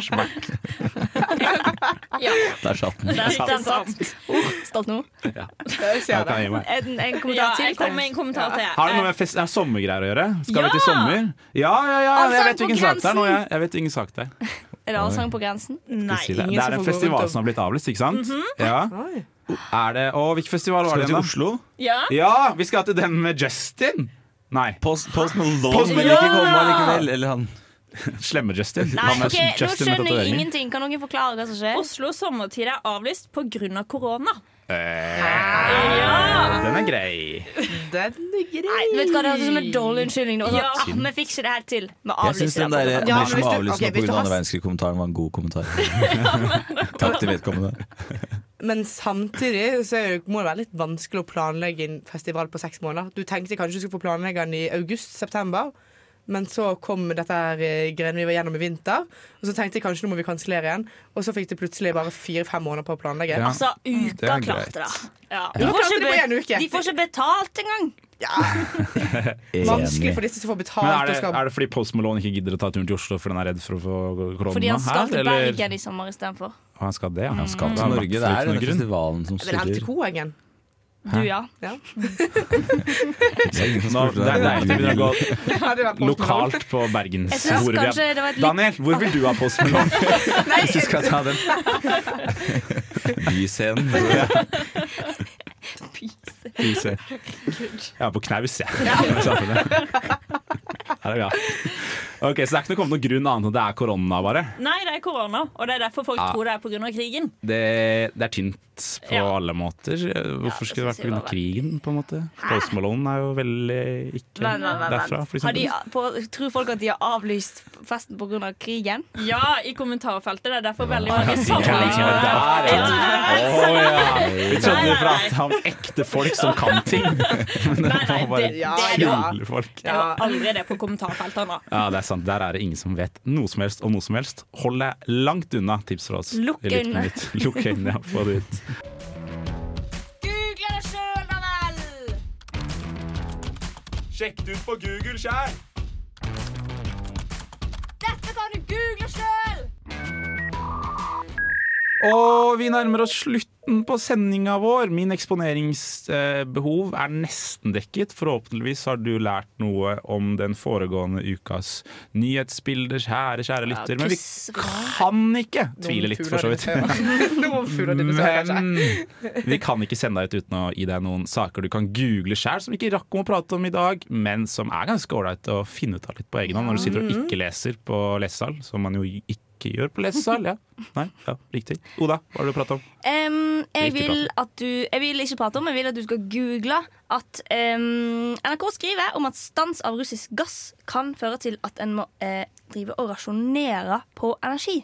S5: Smakk.
S1: Ja.
S7: Der satt den.
S1: Det er sant. Oh, stolt nå.
S5: Ja.
S6: Jeg
S5: Da kan jeg gi meg.
S1: En, en
S8: Ja,
S1: kommentar til?
S8: jeg kommer med en kommentar til.
S5: Har det noe med fest, er sommergreier å gjøre? Skal vi til
S1: Ja!
S5: sommer? Ja, ja, ja.
S1: Allsang
S5: Jeg vet
S1: på
S5: hvilken sak det er nå.
S1: grensen.
S5: Jeg, jeg vet hvilken sak det er.
S1: Er det allsang på grensen?
S5: Skal vi si det. det er en festival som har blitt avlyst, ikke sant?
S1: Mhm.
S5: Ja. Er det, og hvilken festival var
S7: Skal
S5: det
S7: vi til
S5: igjen, da?
S7: Oslo?
S8: Ja.
S5: Ja, vi skal til den med Justin. Nei.
S7: Post, Malone
S5: Post
S7: vil ikke komme allikevel, eller han
S5: Slemme Justin.
S8: Nei,
S5: Han er
S8: ok, nå
S5: Justin med
S8: skjønner jeg
S5: tatovering.
S8: ingen-
S1: Ingenting. Kan noen forklare hva som skjer?
S8: Oslo sommertid er avlyst pga. korona.
S5: Eh, Den er grei.
S6: Den er grei.
S1: Nei, vet du hva, Det hørtes ut som en dårlig unnskyldning. nå.
S8: Ja.
S1: Ah, vi fikser det her til. Vi
S7: Jeg syns
S1: avlyser
S7: den der eh,
S1: det.
S7: ja,
S1: Ja,
S7: som
S1: hvis du-
S7: avlyste
S1: ok,
S7: okay,
S1: hvis du
S7: pga.
S1: har-
S7: andre verdenskrig-kommentaren, var en god kommentar. Takk til vedkommende.
S6: Men samtidig så er det- må det være litt vanskelig å planlegge en festival på seks måneder. Du tenkte kanskje du skulle få planlegge den i august-september, men så kom dette her eh, greiene vi var gjennom i vinter. Og så tenkte jeg kanskje nå må vi kansellere igjen, og så fikk de plutselig bare fire-fem måneder på å planlegge.
S1: Ja. Altså, uka Det er klarte greit. det. Ja. De, får
S6: klarte
S1: ikke
S6: det på en
S1: be-
S6: uke.
S1: de får ikke betalt engang!
S6: Vanskelig for disse som får betalt.
S5: Men er det,
S6: og skal...
S5: er det fordi Post Malone ikke gidder å ta turen til Oslo fordi han er redd for å få korona
S1: Fordi han skal
S5: her,
S1: til
S5: eller-
S1: Bergen i sommer istedenfor.
S5: Å, Han skal det, ja.
S1: Mm.
S7: Han skal
S5: Det
S7: til
S5: er
S7: Norge. Det
S5: absolutt
S7: er
S5: noen
S7: denne
S5: grunn.
S7: festivalen som
S6: Det er vel
S7: surrer.
S6: LTK-engen.
S1: Du, ja.
S7: Det er ingen som
S5: Nå,
S7: spurte
S5: det er
S7: deg.
S5: deilig å begynne å gå
S6: Det hadde vært Post Malone.
S5: lokalt på Bergens
S1: Jeg synes
S5: hvor vi er-
S1: kanskje det var et litt-
S5: Daniel, hvor vil du ha Post Malone? Hvis du skal ta den.
S7: Byscenen.
S5: Pyse. Ja, på knaus, jeg. Ja. Her er vi, ja. Ok, Så det er ikke noe kommet noen grunn annet enn at det er korona, bare?
S8: Nei, det er korona, og det er derfor folk
S5: Ja.
S8: tror det er pga. krigen.
S5: Det, det er tynt på
S8: Ja.
S5: alle måter. Hvorfor skulle det vært
S8: synes jeg
S5: pga.
S8: var
S5: krigen, på en måte? Post Malone er jo veldig ikke
S1: Vent, vent, vent.
S5: derfra, for
S1: Har de,
S5: eksempel.
S1: på, tror folk at de har avlyst festen pga. krigen?
S8: Ja, i kommentarfeltet. Det er derfor veldig
S5: Ja, de
S8: mange
S5: kan liksom være der,
S8: Jeg
S5: ja.
S8: trodde det var
S5: Å, ja. Vi trodde
S8: Nei,
S5: vi
S8: nei,
S5: pratet om ekte folk som kan ting. Men det var bare
S8: det- det-
S5: tullefolk.
S8: Det var aldri det på kommentarfeltet nå.
S5: Ja, det er sant. Der er det ingen som vet noe som helst om noe som helst. Hold deg langt unna tips fra oss.
S8: Lukk
S5: Lytt på
S8: øynene.
S5: nytt. Lukk øynene, ja. Få det ut.
S1: Google det sjøl, da vel!
S12: Sjekk det ut på Google sjæl!
S1: Dette kan du google sjøl!
S5: Og vi nærmer oss slutten på sendinga vår. Min eksponeringsbehov er nesten dekket. Forhåpentligvis har du lært noe om den foregående ukas nyhetsbilder, kjære, kjære lytter. Men vi kan ikke tvile litt, for så vidt.
S6: Noen fugler de besøker seg.
S5: Men vi kan ikke sende deg ut uten å gi deg noen saker du kan google sjøl, som vi ikke rakk om å prate om i dag, men som er ganske ålreit å finne ut av litt på egen hånd når du sitter og
S1: Mm.
S5: ikke leser på lesesal, som man jo ikke gjør på lesesal. Ja. Nei, ja, riktig. Oda, hva har du pratet om?
S1: Em, jeg,
S5: Riktig
S1: vil at du, jeg vil ikke prate om, jeg vil at du skal google at em, NRK skriver om at stans av russisk gass kan føre til at en må eh, drive og rasjonere på energi.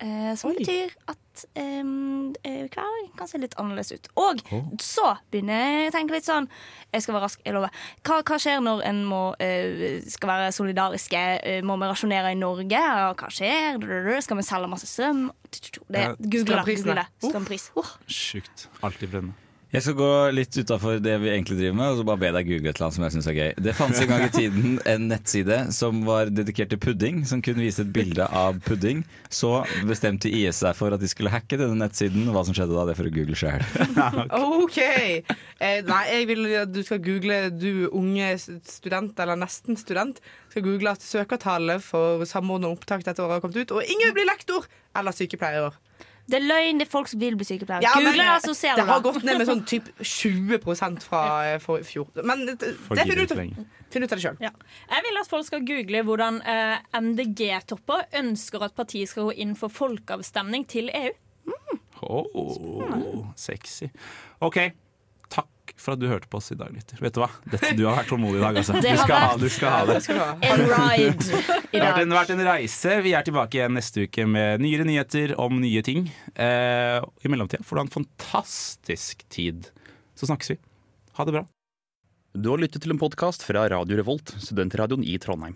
S1: Eh, som betyr at em, eh, hverdagen kan se litt annerledes ut. Og så begynner jeg å tenke litt sånn Jeg skal være rask, jeg lover. Hva, hva skjer når en må, eh, skal være solidariske? Eh, må vi rasjonere i Norge? Hva skjer? Skal vi selge masse strøm? Det, google
S5: Ja,
S1: det.
S5: strømprisene.
S1: Google det. Strømpris. Oh.
S5: Sjukt. Alltid brennende.
S7: Jeg skal gå litt utafor det vi egentlig driver med, og så bare be deg google et eller annet som jeg syns er gøy. Det fantes en gang i tiden en nettside som var dedikert til pudding, som kun viste et bilde av pudding. Så bestemte IS seg for at de skulle hacke denne nettsiden, og hva som skjedde da, det får du google sjøl.
S6: OK! Eh, nei, jeg vil at du skal google, du unge s- student, eller nesten student, skal google at søkertallet for samordna opptak dette året har kommet ut, og ingen blir lektor eller sykepleier i år.
S15: Det er løgn. Det er folk som vil bli sykepleier.
S16: Ja, men,
S15: Google det, så ser du
S16: det har gått ned med sånn typ 20 fra eh, for i fjor. Men det,
S15: Folk gidder
S16: det finner du ut,
S15: ikke
S16: av- finner ut av det sjøl.
S1: Ja. Jeg vil at folk skal google hvordan eh, MDG-topper ønsker at partiet skal gå inn for folkeavstemning til E EU.
S5: Oh, sexy. OK. Takk for at du hørte på oss i dag, lytter. Vet du hva? Dette, du har vært tålmodig i dag, altså. Du
S1: Det har
S5: skal ha,
S1: vært
S5: du skal ha det.
S1: en ride i
S5: Det har
S1: dag.
S5: vært en, vært en reise. Vi er tilbake igjen neste uke med nyere nyheter om nye ting. Eh, I mellomtida får du ha en fantastisk tid. Så snakkes vi. Ha det bra.
S17: Du har lyttet til en podkast fra Radio Revolt, studentradioen i Trondheim.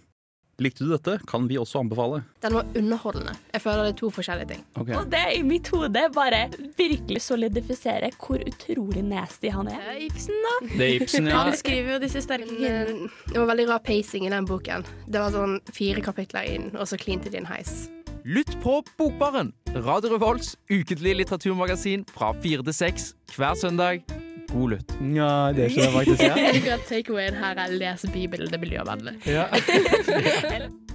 S17: Likte du dette, kan vi også anbefale.
S18: Den var underholdende. Jeg føler det er to forskjellige ting.
S17: Ok.
S1: Og det i mitt hode bare virkelig solidifiserer hvor utrolig nasty han er.
S6: Ibsen, da.
S19: Det er Ibsen, ja.
S6: Han skriver jo disse sterke kvinnene. Det var veldig rar pacing i den boken. Det var sånn fire kapitler inn, og så klinte de en heis.
S20: Lytt på Bokbaren, Radio Revolts ukentlige litteraturmagasin fra fire til seks hver søndag. God lytt.
S21: Ja, det skjer faktisk.
S6: Jeg liker at takeawayen her er les Bibelen, det er miljøvennlig.
S21: Ja.